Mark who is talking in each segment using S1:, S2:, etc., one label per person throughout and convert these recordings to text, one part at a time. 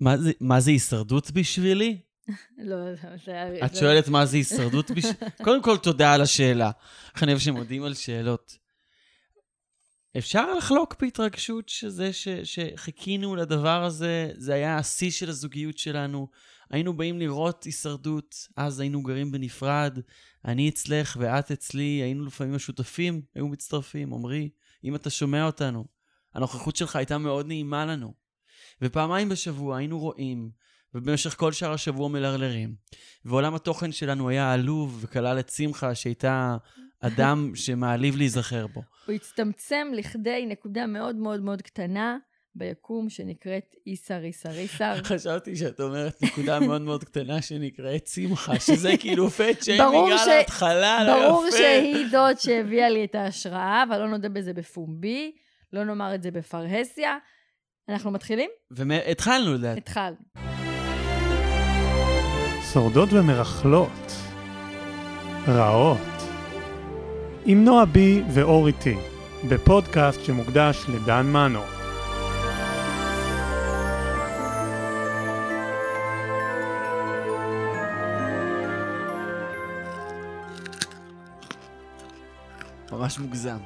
S1: מה זה- מה זה הישרדות בשבילי?
S2: לא, לא, זה היה...
S1: את
S2: זה-
S1: שואלת מה זה הישרדות בשבילי? קודם כל, תודה על השאלה. איך אני אוהב שהם מודים על שאלות. אפשר לחלוק בהתרגשות שזה ש, שחיכינו לדבר הזה, זה היה השיא של הזוגיות שלנו. היינו באים לראות הישרדות, אז היינו גרים בנפרד, אני אצלך ואת אצלי, היינו לפעמים השותפים, היו מצטרפים, עמרי, אם אתה שומע אותנו, הנוכחות שלך הייתה מאוד נעימה לנו. ופעמיים בשבוע היינו רואים, ובמשך כל שאר השבוע מלרלרים. ועולם התוכן שלנו היה עלוב וכלל את שמחה, שהייתה אדם שמעליב להיזכר בו.
S2: הוא הצטמצם לכדי נקודה מאוד מאוד מאוד קטנה ביקום שנקראת איסר איסר איסר.
S1: חשבתי שאת אומרת נקודה מאוד מאוד קטנה שנקראת שמחה, שזה כאילו פט
S2: ברור
S1: שיימינג
S2: ש-
S1: על ההתחלה, לא יפה.
S2: ברור שהיא זאת שהביאה לי את ההשראה, אבל לא נודה בזה בפומבי, לא נאמר את זה בפרהסיה. אנחנו מתחילים?
S1: והתחלנו לדעת.
S2: התחלנו.
S3: שורדות ומרכלות. רעות. עם נועה בי ואור איתי, בפודקאסט שמוקדש לדן מנו.
S1: ממש מוגזם.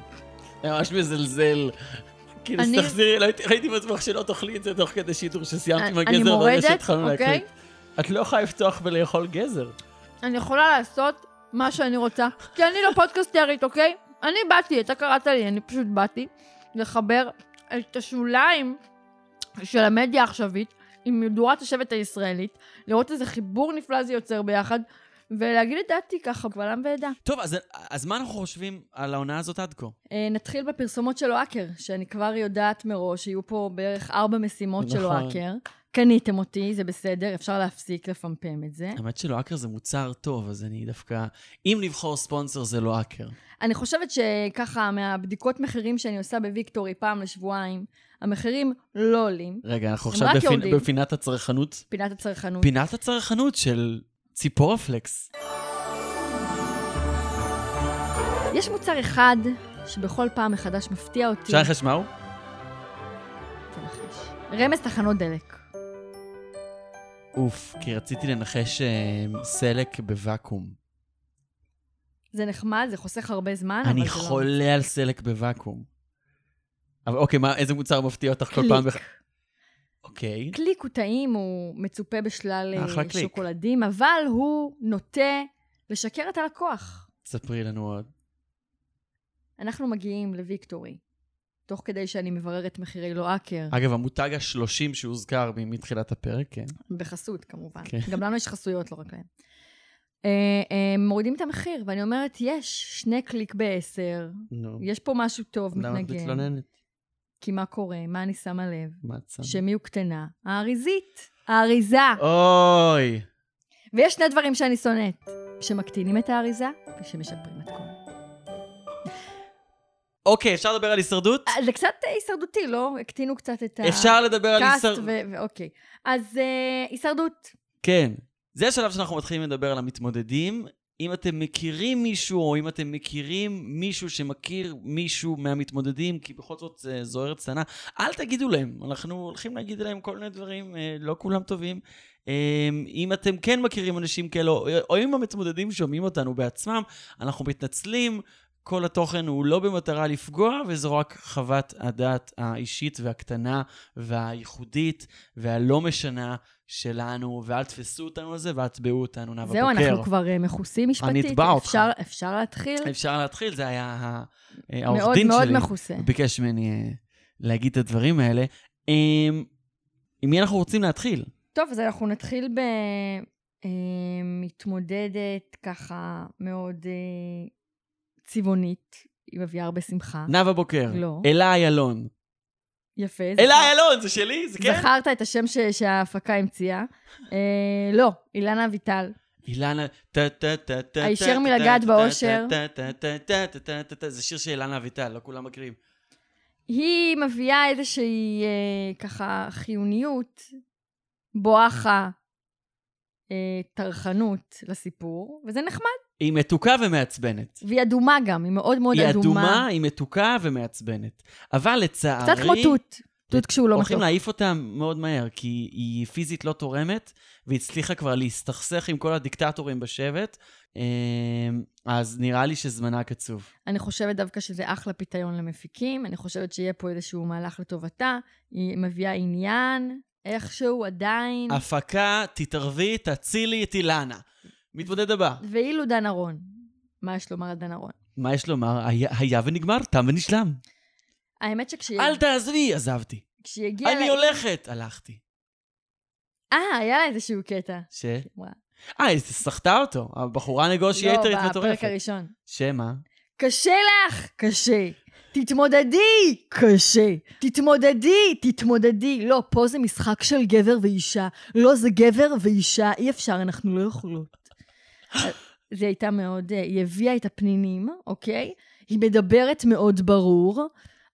S1: ממש מזלזל. כאילו,
S2: אני-
S1: תחזירי, לא הייתי- ראיתי בעצמך שלא תאכלי את זה תוך כדי שידור שסיימתי עם
S2: אה, אני- אני
S1: הגזר ברגע
S2: מורדת,
S1: שהתחלנו
S2: אוקיי?
S1: לא, להקליט. את לא יכולה לפתוח ולאכול גזר.
S2: אני יכולה לעשות מה שאני רוצה, כי אני לא פודקסטרית, אוקיי? אני באתי, אתה קראת לי, אני פשוט באתי לחבר את השוליים של המדיה העכשווית עם מדורת השבט הישראלית, לראות איזה חיבור נפלא זה יוצר ביחד, ולהגיד את דעתי ככה, קבל עם ועדה.
S1: טוב, אז- אז מה אנחנו חושבים על העונה הזאת עד כה?
S2: אה, נתחיל בפרסומות של לואקר, שאני כבר יודעת מראש שיהיו פה בערך ארבע משימות של
S1: נכון.
S2: לואקר. קניתם אותי, זה בסדר, אפשר להפסיק לפמפם את זה.
S1: האמת שלואקר זה מוצר טוב, אז אני דווקא... אם לבחור ספונסר זה לא לואקר.
S2: אני חושבת שככה, מהבדיקות מחירים שאני עושה בוויקטורי פעם לשבועיים, המחירים לא עולים.
S1: רגע, אנחנו
S2: הם
S1: עכשיו
S2: רק
S1: בפינ-
S2: יורדים.
S1: בפינת הצרכנות.
S2: פינת הצרכנות.
S1: פינת הצרכנות של ציפורפלקס.
S2: יש מוצר אחד שבכל פעם מחדש מפתיע אותי.
S1: אפשר לחש מהו?
S2: תנחש. רמז תחנות דלק.
S1: אוף, כי רציתי לנחש אה, סלק בוואקום.
S2: אה, זה נחמד, זה חוסך הרבה זמן, אבל
S1: אני
S2: זה לא-
S1: חולה על סלק בוואקום. אבל אוקיי, מה- איזה מוצר מפתיע אותך כל
S2: קליק.
S1: פעם? בח- אוקיי.
S2: קליק הוא טעים, הוא מצופה בשלל אה,
S1: אחלה קליק.
S2: שוקולדים, אבל הוא נוטה לשקר את הלקוח.
S1: ספרי לנו עוד.
S2: אנחנו מגיעים לוויקטורי, תוך כדי שאני מבררת מחירי לא לואקר,
S1: אגב, המותג ה-30 שהוזכר מ- מתחילת הפרק, כן.
S2: אה, בחסות כמובן.
S1: כן.
S2: גם לנו יש חסויות, לא רק להם. אה, אה, מורידים את המחיר, ואני אומרת, יש שני קליק בעשר,
S1: נו.
S2: יש פה משהו טוב
S1: למה את
S2: מתנגן.
S1: מתלוננת? אה.
S2: כי מה קורה? מה אני שמה לב?
S1: מה את שמה?
S2: שמי הוא קטנה? האריזית, האריזה.
S1: אוי.
S2: ויש שני דברים שאני שונאת, שמקטינים את האריזה ושמשפרים מתכון.
S1: אוקיי, אפשר לדבר על הישרדות?
S2: אה, זה קצת אה, הישרדותי, לא? הקטינו קצת את
S1: אפשר לדבר על
S2: הקאסט,
S1: הישרדות.
S2: ו- ואוקיי. אז אה, הישרדות.
S1: כן. זה השלב שאנחנו מתחילים לדבר על המתמודדים. אם אתם מכירים מישהו, או אם אתם מכירים מישהו שמכיר מישהו מהמתמודדים, כי בכל זאת אה, זו ארץ קטנה, אל תגידו להם. אנחנו הולכים להגיד להם כל מיני דברים, אה, לא כולם טובים. אה, אם אתם כן מכירים אנשים כאלו, או- או אם המתמודדים שומעים אותנו בעצמם, אנחנו מתנצלים. כל התוכן הוא לא במטרה לפגוע, וזו רק חוות הדעת האישית והקטנה והייחודית והלא משנה שלנו, ואל תפסו אותנו על זה ואל תתבעו אותנו, נאוה
S2: זהו,
S1: בוקר.
S2: אנחנו כבר אה, מכוסים משפטית.
S1: אתבע אותך.
S2: אפשר- אפשר להתחיל?
S1: אפשר להתחיל, זה היה ה- אה, העורך
S2: מאוד
S1: דין שלי.
S2: מאוד מכוסה.
S1: הוא ביקש ממני אה, להגיד את הדברים האלה. אה, עם מי אנחנו רוצים להתחיל?
S2: טוב, אז אנחנו נתחיל במתמודדת ככה מאוד אה, צבעונית, היא מביאה הרבה שמחה.
S1: נאוה בוקר.
S2: לא.
S1: אלה איילון.
S2: יפה.
S1: אלה
S2: זכר-
S1: איילון, זה שלי? זה כן?
S2: זכרת את השם ש- שההפקה המציאה. אה, לא, אילנה אביטל.
S1: אילנה... טה טה טה טה
S2: הישר
S1: טה,
S2: מלגעת
S1: טה,
S2: באושר.
S1: טה טה טה טה טה טה טה טה זה שיר של אילנה אביטל, לא כולם מכירים.
S2: היא מביאה איזושהי אה, ככה חיוניות, בואכה, אה, טרחנות לסיפור, וזה נחמד.
S1: היא מתוקה ומעצבנת.
S2: והיא אדומה גם, היא מאוד מאוד
S1: היא
S2: אדומה.
S1: אדומה, היא אוקיי, מתוקה ומעצבנת. אבל לצערי...
S2: קצת כמו תות. תות כשהוא לא
S1: הולכים
S2: מתוק.
S1: להעיף אותה מאוד מהר, כי היא פיזית לא תורמת, והיא הצליחה כבר להסתכסך עם כל הדיקטטורים בשבט, אמ, אז נראה לי שזמנה קצוב.
S2: אני חושבת דווקא שזה אחלה פיתיון למפיקים, אני חושבת שיהיה פה איזשהו מהלך לטובתה, היא מביאה עניין, איכשהו עדיין,
S1: הפקה, תתערבי, תצילי את אילנה. מתמודד הבא.
S2: ואילו דן ארון, מה יש לומר על דן ארון?
S1: מה יש לומר? היה- היה ונגמר, תם ונשלם.
S2: האמת שכשיגיע
S1: אל תעזבי, עזבתי.
S2: כשיגיע
S1: אני הולכת, הלכתי.
S2: אה, היה לה איזשהו קטע.
S1: ש?
S2: וואו.
S1: אה, היא סחטה אותו. הבחורה נגושי יתרית
S2: לא, בפרק
S1: מטורפת.
S2: הראשון. אה,
S1: שמה?
S2: קשה לך! קשה. תתמודדי! קשה. תתמודדי! תתמודדי. לא, פה זה משחק של גבר ואישה. לא, זה גבר ואישה. אי אפשר, אנחנו לא יכולות. זה הייתה מאוד... אה, היא הביאה את הפנינים, אוקיי? היא מדברת מאוד ברור.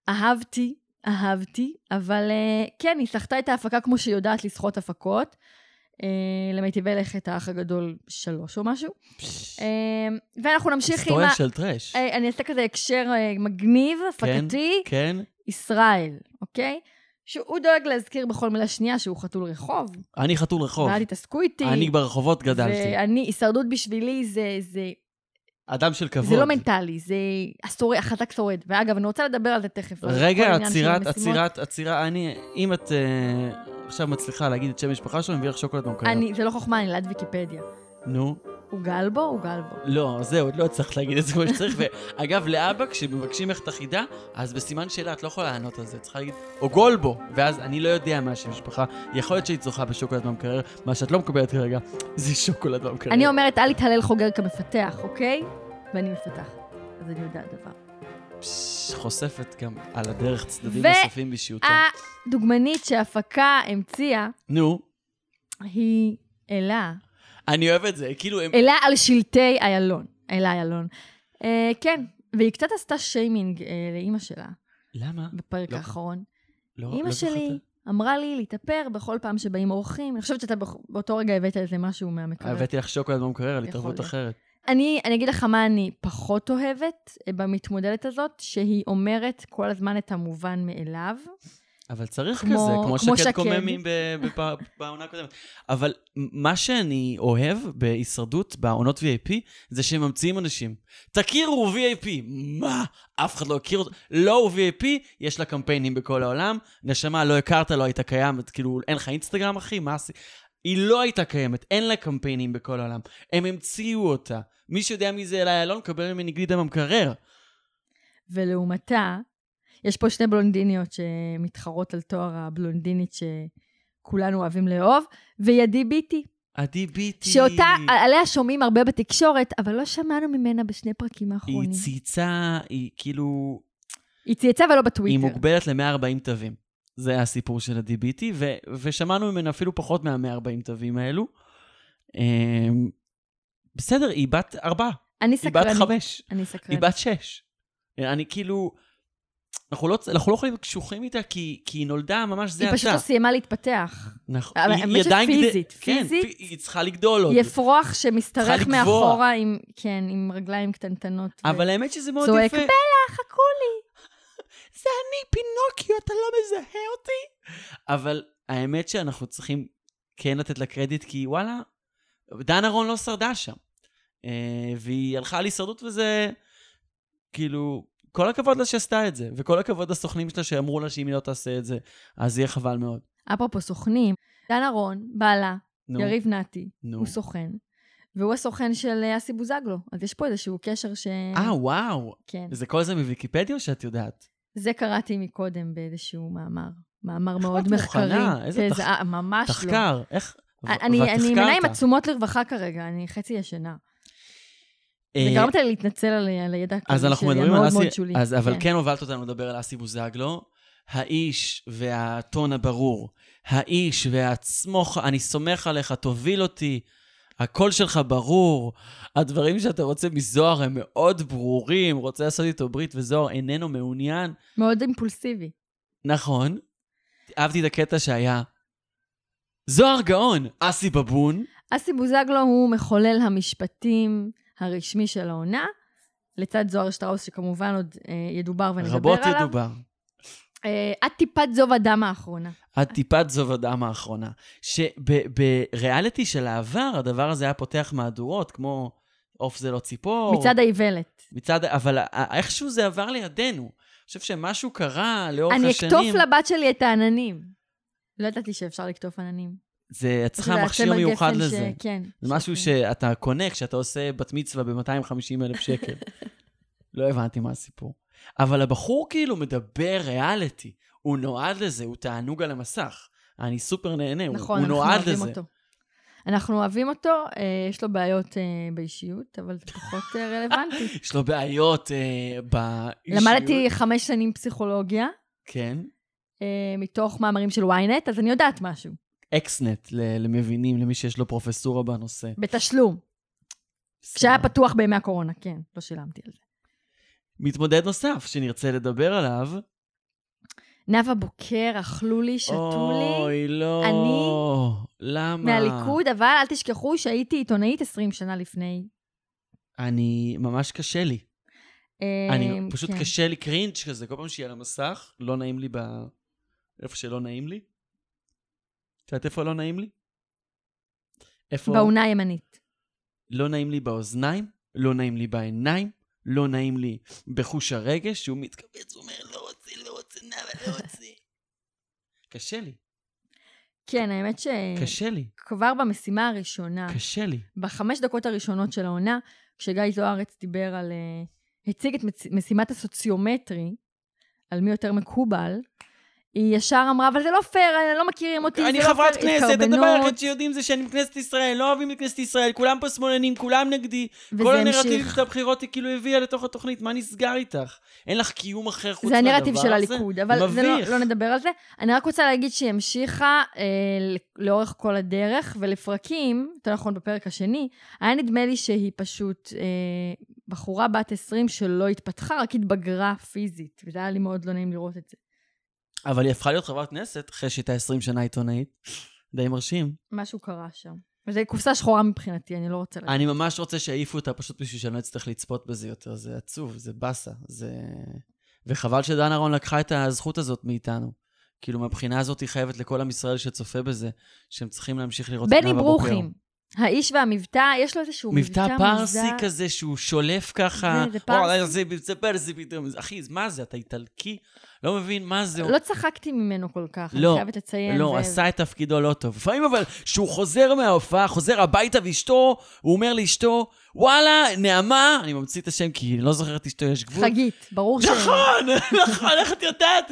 S2: אהבתי, אהבתי, אבל אה, כן, היא סחטה את ההפקה כמו שהיא יודעת לסחוט הפקות. אה, למיטיבי לכת האח הגדול שלוש או משהו. אה, ואנחנו נמשיך עם
S1: היסטוריה
S2: ה...
S1: של טרש.
S2: אה, אני אעשה כזה הקשר אה, מגניב, הפקתי,
S1: כן?
S2: ישראל, אוקיי? שהוא דואג להזכיר בכל מילה שנייה שהוא חתול רחוב,
S1: אני חתול רחוב.
S2: ואל תתעסקו איתי.
S1: אני ברחובות גדלתי.
S2: ואני, הישרדות בשבילי זה, זה,
S1: אדם של כבוד.
S2: זה לא מנטלי, זה השורד, החזק שורד. ואגב, אני רוצה לדבר על זה תכף. על כל
S1: רגע,
S2: העניין של
S1: עצירת,
S2: המשימות.
S1: עצירת, עצירה. אני, אם את אה, עכשיו מצליחה להגיד את שם המשפחה שלו, אני מביא לך שוקולד מוקרן.
S2: אני, זה לא חוכמה, אני ליד ויקיפדיה.
S1: נו,
S2: הוא גל בו, הוא גל בו.
S1: לא, זהו, את לא הצלחת להגיד את זה כמו שצריך. ואגב, לאבא, כשמבקשים ממך את החידה, אז בסימן שאלה את לא יכולה לענות על זה, את צריכה להגיד, או גולבו, ואז אני לא יודע מה השם משפחה, יכול להיות שהיית זוכה בשוקולד במקרר, מה שאת לא מקבלת כרגע, זה שוקולד במקרר.
S2: אני אומרת, אל יתהלל חוגר כמפתח, אוקיי? ואני מפתחת. אז אני יודעת דבר.
S1: כן. פש, חושפת גם על הדרך צדדים
S2: ו- אה-
S1: נוספים באישיותה.
S2: הדוגמנית שההפקה המציאה
S1: נו,
S2: היא אלה.
S1: אני אוהב את זה, כאילו הם...
S2: אלה על שלטי איילון. אלה איילון. אה, כן, והיא קצת עשתה שיימינג אה, לאימא שלה
S1: למה?
S2: בפרק
S1: לא.
S2: האחרון.
S1: לא- לא
S2: אימא שלי
S1: זכרת?
S2: אמרה לי להתאפר בכל פעם שבאים אורחים. אני חושבת שאתה בח- באותו רגע הבאת איזה משהו מהמקרב.
S1: הבאתי לך שוקולד במקרר על
S2: יכול
S1: התערבות
S2: להיות.
S1: אחרת.
S2: אני, אני אגיד לך מה אני פחות אוהבת אה, במתמודדת הזאת, שהיא אומרת כל הזמן את המובן מאליו.
S1: אבל צריך
S2: כמו-
S1: כזה, כמו
S2: כמו
S1: שקד
S2: שקד.
S1: קוממי ב- בפ- בעונה הקודמת. אבל מה שאני אוהב בהישרדות, בעונות VIP, זה שהם ממציאים אנשים. תכירו, הוא VIP. מה? אף אחד לא הכיר אותו. לא, הוא VIP, יש לה קמפיינים בכל העולם. נשמה, לא הכרת, לא היית קיים, את כאילו, אין לך אינסטגרם, אחי? מה עשי? היא לא הייתה קיימת, אין לה קמפיינים בכל העולם. הם המציאו אותה. מי שיודע מי זה אלה אלון, קבל ממני גלידה במקרר.
S2: ולעומתה, יש פה שתי בלונדיניות שמתחרות על תואר הבלונדינית שכולנו אוהבים לאהוב, וידי ביטי,
S1: עדי ביטי.
S2: שאותה, אה, עליה שומעים הרבה בתקשורת, אבל לא שמענו ממנה בשני פרקים
S1: היא
S2: האחרונים.
S1: צייצה, היא כאילו...
S2: היא צייצה ולא
S1: היא
S2: בטוויטר.
S1: מוגבלת ל-140 תווים. זה הסיפור של ה-DBT, ו- ושמענו ממנה אפילו פחות מה-140 תווים האלו. אמ, בסדר, היא בת ארבע,
S2: אני
S1: היא בת
S2: סקרנית. כן.
S1: חמש,
S2: אני סקרנית.
S1: היא בת שש. אני כאילו... אנחנו לא, אנחנו לא יכולים להיות קשוחים איתה, כי, כי היא נולדה ממש זה
S2: היא פשוט
S1: עתה.
S2: לא סיימה להתפתח.
S1: נכון.
S2: אבל האמת
S1: גד-
S2: שפיזית,
S1: כן,
S2: פיזית-
S1: פי- היא צריכה לגדול עוד.
S2: היא אפרוח
S1: לא, צריכה
S2: שמשתרך
S1: לגבוה.
S2: מאחורה עם, כן, עם רגליים קטנטנות. ו-
S1: אבל האמת שזה מאוד
S2: צועק,
S1: יפה.
S2: בלה, חכו לי.
S1: זה אני, פינוקיו, אתה לא מזהה אותי? אבל האמת שאנחנו צריכים כן לתת לה קרדיט, כי וואלה, דן ארון לא שרדה שם. אה, והיא הלכה על הישרדות וזה, כאילו, כל הכבוד לה שעשתה את זה, וכל הכבוד לסוכנים שלה שאמרו לה שאם היא לא תעשה את זה, אז יהיה חבל מאוד.
S2: אפרופו סוכנים, דן ארון, בעלה,
S1: נו,
S2: יריב נתי,
S1: נו.
S2: הוא סוכן, והוא הסוכן של אה, אסי בוזגלו. אז יש פה איזשהו קשר ש...
S1: אה, וואו.
S2: כן.
S1: זה כל זה מוויקיפדיה או שאת יודעת?
S2: זה קראתי מקודם באיזשהו מאמר. מאמר
S1: איך
S2: מאוד
S1: את
S2: מחקרי.
S1: מוכנה? איזה
S2: תזה,
S1: תח-
S2: אה, ממש לא.
S1: תחקר, איך? ו-
S2: אני,
S1: ואת
S2: אני מנה עם
S1: תחקרת.
S2: עצומות לרווחה כרגע, אני חצי ישנה.
S1: אה,
S2: זה גרמת לי להתנצל על, על הידע הכללי
S1: אז
S2: שלי,
S1: אנחנו מדברים על
S2: המאוד
S1: אסי,
S2: מאוד שולי.
S1: אז אבל כן הובלת אותנו לדבר על אסי בוזגלו, האיש והטון הברור, האיש והצמוך, אני סומך עליך, תוביל אותי, הקול שלך ברור, הדברים שאתה רוצה מזוהר הם מאוד ברורים, רוצה לעשות איתו ברית וזוהר איננו מעוניין.
S2: מאוד אימפולסיבי.
S1: נכון, אהבתי את הקטע שהיה, זוהר גאון, אסי בבון,
S2: אסי בוזגלו הוא מחולל המשפטים הרשמי של העונה, לצד זוהר שטראוס, שכמובן עוד אה, ידובר ונדבר
S1: רבות
S2: עליו.
S1: ידובר.
S2: אה, עד טיפת זוב הדם האחרונה.
S1: עד טיפת זוב הדם האחרונה. שבריאליטי של העבר, הדבר הזה היה פותח מהדורות, כמו עוף זה לא ציפור.
S2: מצעד האיוולת.
S1: מצד... אבל א- איכשהו זה עבר לידינו. אני חושב שמשהו קרה לאורך
S2: אני
S1: השנים.
S2: אקטוף לבת שלי את העננים. לא ידעתי שאפשר לקטוף עננים.
S1: זה, את צריכה
S2: שזה
S1: מכשיר
S2: הצמר
S1: מיוחד
S2: גפן ש-
S1: לזה.
S2: כן.
S1: זה משהו שאתה קונה כשאתה עושה בת מצווה ב-250 אלף שקל. לא הבנתי מה הסיפור. אבל הבחור כאילו מדבר ריאליטי. הוא נועד לזה, הוא תענוג על המסך. אני סופר נהנה, הוא- הוא
S2: נכון, אנחנו
S1: נועד
S2: אוהבים
S1: לזה.
S2: אותו. אנחנו אוהבים אותו, אה, יש לו בעיות אה, באישיות, אבל זה פחות אה, רלוונטי.
S1: יש לו בעיות אה, באישיות.
S2: למדתי חמש שנים פסיכולוגיה,
S1: כן.
S2: אה, מתוך מאמרים של ynet, אז אני יודעת משהו,
S1: אקסנט ל- למבינים, למי שיש לו פרופסורה בנושא.
S2: בתשלום. כשהיה
S1: אה.
S2: פתוח בימי הקורונה, כן, לא שילמתי על זה.
S1: מתמודד נוסף שנרצה לדבר עליו.
S2: נאוה בוקר, אכלו לי, שתו לי,
S1: אוי, לא.
S2: אני
S1: למה?
S2: מהליכוד, אבל אל תשכחו שהייתי עיתונאית 20 שנה לפני.
S1: אני, ממש קשה לי.
S2: אה,
S1: אני, פשוט
S2: כן.
S1: קשה לי קרינג' כזה, כל פעם שהיא על המסך, לא נעים לי ב... איפה שלא נעים לי. את יודעת איפה לא נעים לי? איפה...
S2: באונה הימנית.
S1: לא נעים לי באוזניים, לא נעים לי בעיניים, לא נעים לי בחוש הרגש, שהוא מתכווץ, הוא אומר, לא רוצה, לא רוצה, נאווה, לא רוצה. קשה לי,
S2: כן, אה. האמת שכבר
S1: קשה לי,
S2: במשימה הראשונה,
S1: קשה לי.
S2: בחמש דקות הראשונות של העונה, כשגיא זוארץ דיבר על... אה, הציג את מצ- משימת הסוציומטרי, על מי יותר מקובל, היא ישר אמרה, אבל זה לא פייר, אני לא מכירים אותי, זה לא
S1: אני
S2: פייר,
S1: חברת כנסת, הדבר היחיד
S2: התקרבנות",
S1: שיודעים זה שאני בכנסת ישראל, לא אוהבים את כנסת ישראל, כולם פה שמאלנים, כולם נגדי. כל
S2: וזה
S1: הנרטיב
S2: המשיך.
S1: של הבחירות היא כאילו הביאה לתוך התוכנית, מה נסגר איתך? אין לך קיום אחר חוץ
S2: זה
S1: מהדבר הזה?
S2: הנרטיב של הליכוד, אבל זה לא,
S1: מביך.
S2: לא נדבר על זה. אני רק רוצה להגיד שהיא המשיכה אה, ל- לאורך כל הדרך, ולפרקים, יותר נכון בפרק השני, היה נדמה לי שהיא פשוט אה, בחורה בת 20 שלא התפתחה, רק התבגרה פיזית, וזה היה לי מאוד לא נעים לראות את זה.
S1: אבל היא הפכה להיות חברת כנסת אחרי שהייתה 20 שנה עיתונאית. די מרשים.
S2: משהו קרה שם. וזה קופסה שחורה מבחינתי, אני לא רוצה לדעת.
S1: אני ממש רוצה שיעיפו אותה פשוט בשביל שאני לא אצטרך לצפות בזה יותר. זה עצוב, זה באסה. זה... וחבל שדן אהרון לקחה את הזכות הזאת מאיתנו. כאילו, מהבחינה הזאת היא חייבת לכל עם ישראל שצופה בזה, שהם צריכים להמשיך לראות את
S2: בני
S1: נאוה בוקר.
S2: ברוכים, האיש והמבטא, יש לו איזשהו מבטא
S1: מבטא
S2: מוזר.
S1: פרסי כזה שהוא שולף ככה.
S2: זה- זה
S1: "או,
S2: פרסי.
S1: זה מבטא פרסי פתאום. אחי, מה זה? אתה איטלקי? לא מבין מה זה.
S2: לא צחקתי ממנו כל כך,
S1: לא,
S2: אני חייבת לציין.
S1: לא,
S2: זה-
S1: עשה את תפקידו לא טוב. לפעמים אבל, כשהוא חוזר מההופעה, חוזר הביתה ואשתו, הוא אומר לאשתו, וואלה, נעמה, אני ממציא את השם כי אני לא זוכר את אשתו, יש גבול.
S2: חגית, ברור ש...
S1: נכון, נכון, איך את יודעת?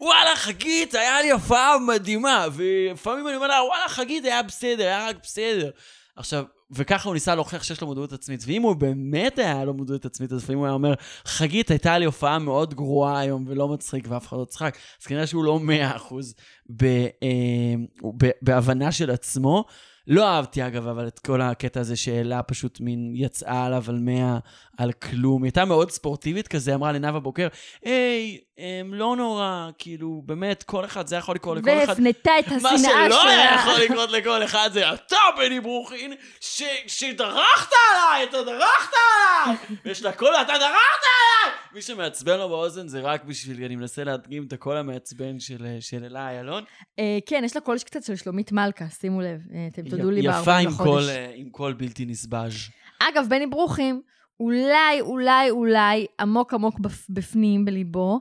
S1: וואלה, חגית, היה לי הופעה מדהימה, ולפעמים אני אומר לה, וואלה, חגית, היה בסדר, היה רק בסדר. עכשיו, וככה הוא ניסה להוכיח שיש לו מודעות עצמית, ואם הוא באמת היה לו מודעות עצמית, אז לפעמים הוא היה אומר, חגית, הייתה לי הופעה מאוד גרועה היום, ולא מצחיק, ואף אחד לא צחק. אז כנראה שהוא לא 100% ב, אה, ב, בהבנה של עצמו. לא אהבתי, אגב, אבל את כל הקטע הזה שאלה פשוט מין יצאה עליו על 100, על כלום. היא הייתה מאוד ספורטיבית כזה, אמרה לנאוה בוקר, היי, אמ, לא נורא, כאילו, באמת, כל אחד, זה יכול לקרות לכל אחד.
S2: והפנתה את השנאה שלה. אה,
S1: מה שלא היה יכול לקרות לכל אחד זה אתה, בני ברוכין, ש- שדרכת עליי, אתה דרכת עליי! ויש לה קול, אתה דרכת עליי! מי שמעצבן לו באוזן זה רק בשביל, אני מנסה להדגים את הקול המעצבן של של אלה איילון.
S2: אה, כן, יש לה קול קצת של שלומית מלכה, שימו לב, אה, אתם תודו לי
S1: יפה
S2: ב-40
S1: עם קול,
S2: לחודש.
S1: אה, עם קול בלתי נסבז.
S2: אגב, בני ברוכים, אולי, אולי, אולי, עמוק עמוק בפ- בפנים, בליבו,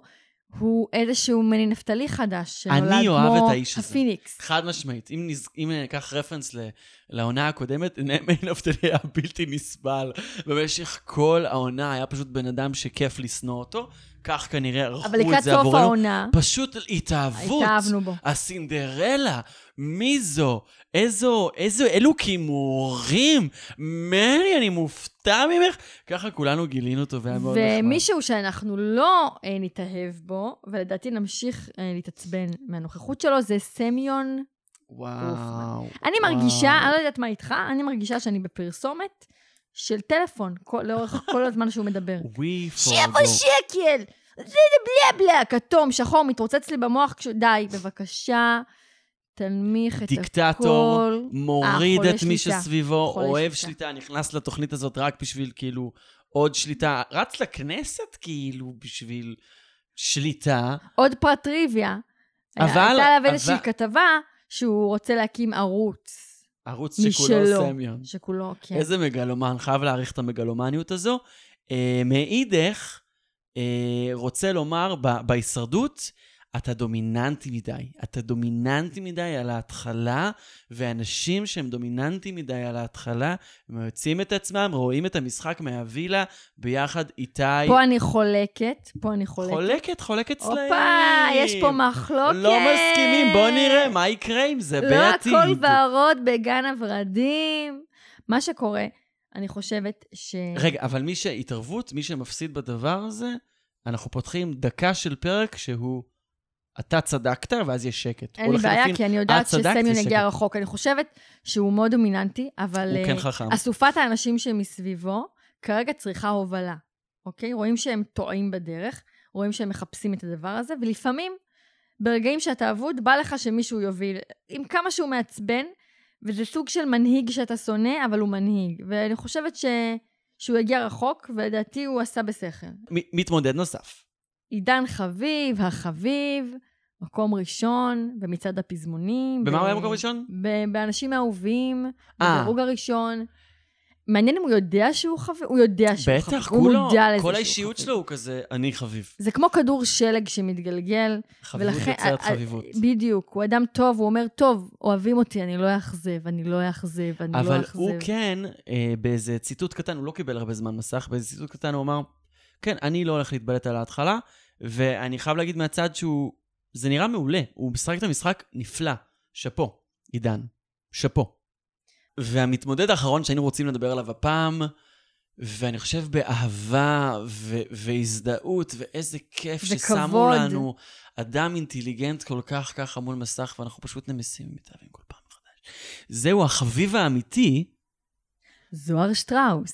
S2: הוא איזשהו מני נפתלי חדש,
S1: אני
S2: שנולד
S1: אוהב את
S2: כמו
S1: האיש הזה.
S2: הפיניקס.
S1: חד משמעית. אם, נז... אם ניקח רפרנס ל... לעונה הקודמת, נאמן נפתלי היה בלתי נסבל. במשך כל העונה היה פשוט בן אדם שכיף לשנוא אותו, כך כנראה ערכו
S2: אבל לקראת
S1: את זה
S2: סוף
S1: עבורנו.
S2: העונה,
S1: פשוט התאהבות.
S2: התאהבנו בו.
S1: הסינדרלה, מי זו? איזו, איזו, אילו כימורים. מרי, אני מופתע ממך. ככה כולנו גילינו אותו והיה מאוד נחמד.
S2: ומישהו שאנחנו לא אה, נתאהב בו, ולדעתי נמשיך אה, להתעצבן מהנוכחות שלו, זה סמיון.
S1: וואו.
S2: אני מרגישה, אני לא יודעת מה איתך, אני מרגישה שאני בפרסומת של טלפון כל- לאורך כל הזמן שהוא מדבר.
S1: ווי
S2: שבע שקל! זה זה בלה בלה! כתום, שחור, מתרוצץ לי במוח כש... די, בבקשה, תנמיך את
S1: דיקטטור,
S2: הכל.
S1: מוריד
S2: אה,
S1: את
S2: חולה
S1: מי
S2: שליטה.
S1: שסביבו,
S2: חולה
S1: אוהב
S2: שליטה.
S1: שליטה, נכנס לתוכנית הזאת רק בשביל כאילו עוד שליטה. רץ לכנסת כאילו בשביל שליטה.
S2: עוד פרט טריוויה.
S1: אבל-
S2: הייתה עליו
S1: אבל-
S2: איזושהי כתבה שהוא רוצה להקים ערוץ.
S1: ערוץ
S2: משלו.
S1: שכולו סמיון.
S2: שכולו, כן.
S1: איזה מגלומן, חייב להעריך את המגלומניות הזו. אה, מאידך, אה, רוצה לומר ב- בהישרדות, אתה דומיננטי מדי. אתה דומיננטי מדי על ההתחלה, ואנשים שהם דומיננטיים מדי על ההתחלה, הם יוצאים את עצמם, רואים את המשחק מהווילה, ביחד איתי.
S2: פה אני חולקת, פה אני חולקת.
S1: חולקת, חולקת סלעים.
S2: הופה, יש פה מחלוקת.
S1: לא מסכימים, בוא נראה מה יקרה עם זה
S2: לא
S1: בעתיד.
S2: הכל ורוד בגן הוורדים. מה שקורה, אני חושבת ש...
S1: רגע, אבל מי שהתערבות, מי שמפסיד בדבר הזה, אנחנו פותחים דקה של פרק שהוא, אתה צדקת, ואז יש שקט.
S2: אין
S1: או
S2: לי בעיה,
S1: לחלופין,
S2: כי אני יודעת
S1: את אה, צדקת,
S2: שסמיון
S1: זה
S2: יגיע
S1: שקר.
S2: רחוק. אני חושבת שהוא מאוד דומיננטי, אבל
S1: הוא
S2: אה,
S1: כן חכם.
S2: אסופת האנשים שמסביבו כרגע צריכה הובלה, אוקיי? רואים שהם טועים בדרך, רואים שהם מחפשים את הדבר הזה, ולפעמים, ברגעים שאתה אבוד, בא לך שמישהו יוביל, עם כמה שהוא מעצבן, וזה סוג של מנהיג שאתה שונא, אבל הוא מנהיג. ואני חושבת ש... שהוא הגיע רחוק, ולדעתי הוא עשה בשכל.
S1: מ- מתמודד נוסף.
S2: עידן חביב, החביב, מקום ראשון במצעד הפזמונים.
S1: במה
S2: ב-
S1: הוא היה מקום ראשון?
S2: ב- באנשים אהובים,
S1: אה.
S2: בדירוג הראשון. מעניין אם הוא יודע שהוא חביב, הוא יודע שהוא חביב.
S1: בטח,
S2: הוא
S1: כולו,
S2: מודע לזה
S1: כל
S2: שהוא
S1: האישיות
S2: חביב.
S1: שלו הוא כזה, אני חביב.
S2: זה כמו כדור שלג שמתגלגל.
S1: חביבות
S2: ולכן-
S1: יוצרת
S2: אה, אה,
S1: חביבות.
S2: בדיוק, הוא אדם טוב, הוא אומר, טוב, אוהבים אותי, אני לא אאכזב, אני לא אאכזב, אני לא
S1: אבל
S2: אאכזב.
S1: הוא כן, אה, באיזה ציטוט קטן, הוא לא קיבל הרבה זמן מסך, באיזה ציטוט קטן הוא אמר, כן, אני לא הולך להתבלט על ההתחלה, ואני חייב להגיד מהצד שהוא, זה נראה מעולה, הוא משחק את המשחק נפלא. שאפו, עידן, שאפו. והמתמודד האחרון שהיינו רוצים לדבר עליו הפעם, ואני חושב באהבה ו- והזדהות, ואיזה כיף ששמו
S2: וכבוד.
S1: לנו אדם אינטליגנט כל כך ככה מול מסך, ואנחנו פשוט נמסים ומתאהבים כל פעם מחדש. זהו החביב האמיתי,
S2: זוהר שטראוס.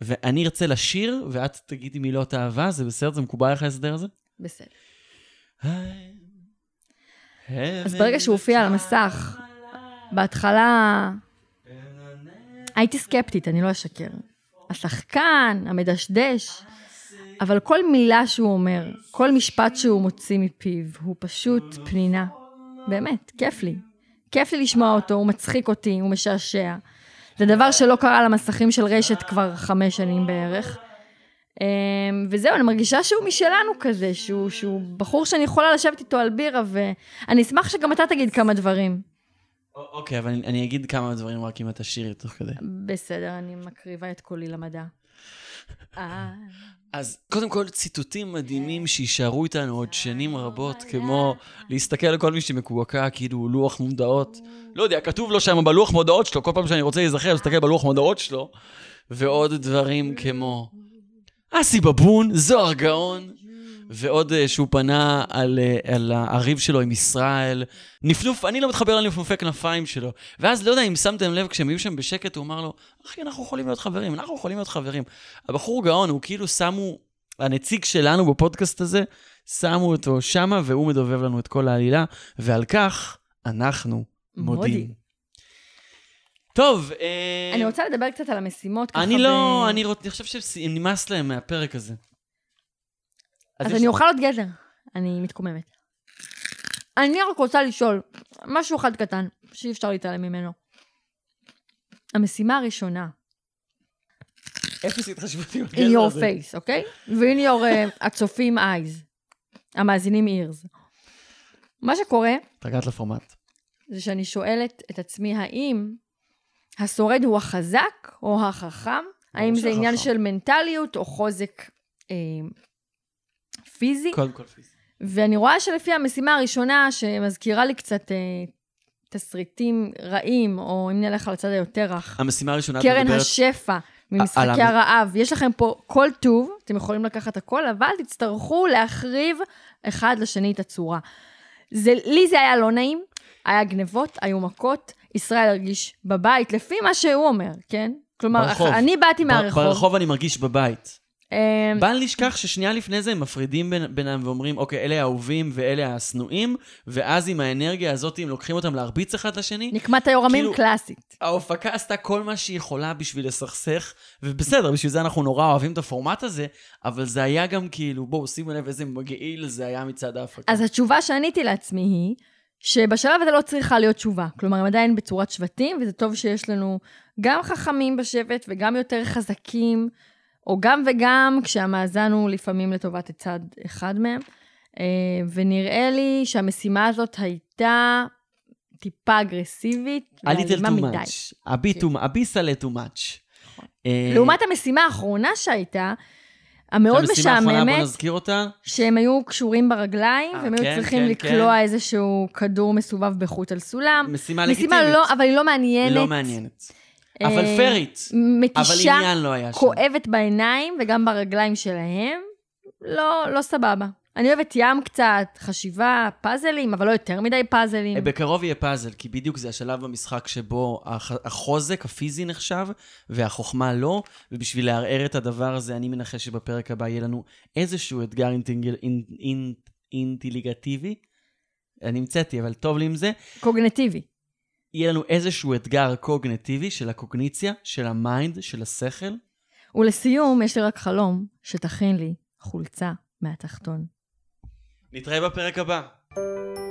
S1: ואני ארצה לשיר, ואת תגידי מילות אהבה, זה בסדר? זה מקובל לך ההסדר הזה?
S2: בסדר. אז ברגע שהוא הופיע על המסך, בהתחלה הייתי סקפטית, אני לא אשקר. השחקן, המדשדש, אבל כל מילה שהוא אומר, כל משפט שהוא מוציא מפיו, הוא פשוט פנינה. באמת, כיף לי. כיף לי לשמוע אותו, הוא מצחיק אותי, הוא משעשע. זה דבר שלא קרה על המסכים של רשת כבר חמש שנים בערך. אמ, וזהו, אני מרגישה שהוא משלנו כזה, שהוא, שהוא בחור שאני יכולה לשבת איתו על בירה, ואני אשמח שגם אתה תגיד כמה דברים.
S1: א- אוקיי, אבל אני- אני אגיד כמה דברים רק אם את תשירי תוך כדי.
S2: בסדר, אני מקריבה את קולי למדע. אה,
S1: אז קודם כל, ציטוטים מדהימים שיישארו איתנו עוד שנים רבות, כמו להסתכל על כל מי שמקועקע, כאילו הוא לוח מודעות. לא יודע, כתוב לו שם בלוח מודעות שלו, כל פעם שאני רוצה להיזכר, אני מסתכל בלוח מודעות שלו, ועוד דברים כמו אסי בבון, זוהר גאון, ועוד אה, שהוא פנה על, אה, על הריב שלו עם ישראל. נפנוף, אני לא מתחבר לנפנופי כנפיים שלו. ואז לא יודע אם שמתם לב, כשהם היו שם בשקט, הוא אמר לו, אחי, אנחנו יכולים להיות חברים, אנחנו יכולים להיות חברים. הבחור גאון, הוא כאילו שמו, הנציג שלנו בפודקאסט הזה, שמו אותו שמה, והוא מדובב לנו את כל העלילה, ועל כך אנחנו
S2: מודים.
S1: מודים. טוב, אה,
S2: אני רוצה לדבר קצת על המשימות. ככה
S1: אני לא,
S2: ב-
S1: אני רוצ- אני חושב שנמאס להם מהפרק הזה.
S2: אז
S1: יש-
S2: אני אוכל עוד גזר. אני מתקוממת. אני רק רוצה לשאול, משהו אחד קטן, שאי אפשר להתעלם ממנו. המשימה הראשונה,
S1: אפס התחשבות עם
S2: in
S1: הגזר
S2: your
S1: הזה.
S2: face, אוקיי? ו-in your, אה, הצופים eyes, המאזינים ears. מה שקורה,
S1: התרגלת לפורמט.
S2: זה שאני שואלת את עצמי, האם השורד הוא החזק או החכם? האם זה
S1: שהחכם.
S2: עניין של מנטליות או חוזק אה, פיזי?
S1: קודם כל פיס.
S2: ואני רואה שלפי המשימה הראשונה, שמזכירה לי קצת אה, תסריטים רעים, או אם נלך על הצד היותר רך,
S1: המשימה הראשונה, את
S2: קרן
S1: מדברת-
S2: השפע ממשחקי
S1: על המ-
S2: הרעב. יש לכם פה כל טוב, אתם יכולים לקחת הכל, אבל תצטרכו להחריב אחד לשני את הצורה. זה, לי זה היה לא נעים, היה גנבות, היו מכות, ישראל הרגיש בבית, לפי מה שהוא אומר, כן? כלומר,
S1: ברחוב.
S2: אני באתי
S1: ב-
S2: מהרחוב.
S1: ברחוב אני מרגיש בבית.
S2: אמ,
S1: בל נשכח ששנייה לפני זה הם מפרידים בין, בינם ואומרים, אוקיי, אלה האהובים ואלה השנואים, ואז עם האנרגיה הזאת, אם לוקחים אותם להרביץ אחד לשני,
S2: נקמת היורמים
S1: כאילו-
S2: קלאסית.
S1: ההופקה עשתה כל מה שהיא יכולה בשביל לסכסך, ובסדר, בשביל זה אנחנו נורא אוהבים את הפורמט הזה, אבל זה היה גם כאילו, בואו, שימו לב איזה מגעיל זה היה מצד ההפקה.
S2: אז התשובה שעניתי לעצמי היא, שבשלב הזה לא צריכה להיות תשובה. כלומר, הם עדיין בצורת שבטים, וזה טוב שיש לנו גם חכמים בשבט וגם יותר חזקים, או גם וגם, כשהמאזן הוא לפעמים לטובת צד אחד מהם. אה, ונראה לי שהמשימה הזאת הייתה טיפה אגרסיבית,
S1: a little
S2: ואלימה
S1: too
S2: מדי. נכון.
S1: much, a bit too, a bit a little much. אה,
S2: לעומת המשימה האחרונה שהייתה, המאוד
S1: המשימה האחרונה, בוא
S2: משעממת,
S1: נזכיר אותה.
S2: שהם היו קשורים ברגליים,
S1: אה,
S2: והם היו
S1: כן,
S2: צריכים
S1: כן,
S2: לקלוע
S1: כן.
S2: איזשהו כדור מסובב בחוט על סולם.
S1: משימה לגיטימית.
S2: משימה לא, אבל היא לא מעניינת.
S1: לא מעניינת.
S2: אה,
S1: אבל פרית. אבל
S2: מתישה,
S1: עניין לא היה שם.
S2: כואבת בעיניים וגם ברגליים שלהם. לא, לא סבבה. אני אוהבת ים קצת, חשיבה, פאזלים, אבל לא יותר מדי פאזלים.
S1: בקרוב יהיה פאזל, כי בדיוק זה השלב במשחק שבו הח- החוזק הפיזי נחשב והחוכמה לא, ובשביל לערער את הדבר הזה, אני מנחש שבפרק הבא יהיה לנו איזשהו אתגר אינטינגל- אינ- אינ- אינטליגטיבי. אני המצאתי, אבל טוב לי עם זה.
S2: קוגנטיבי.
S1: יהיה לנו איזשהו אתגר קוגנטיבי של הקוגניציה, של המיינד, של השכל.
S2: ולסיום, יש לי רק חלום שתכין לי חולצה מהתחתון.
S1: נתראה בפרק הבא.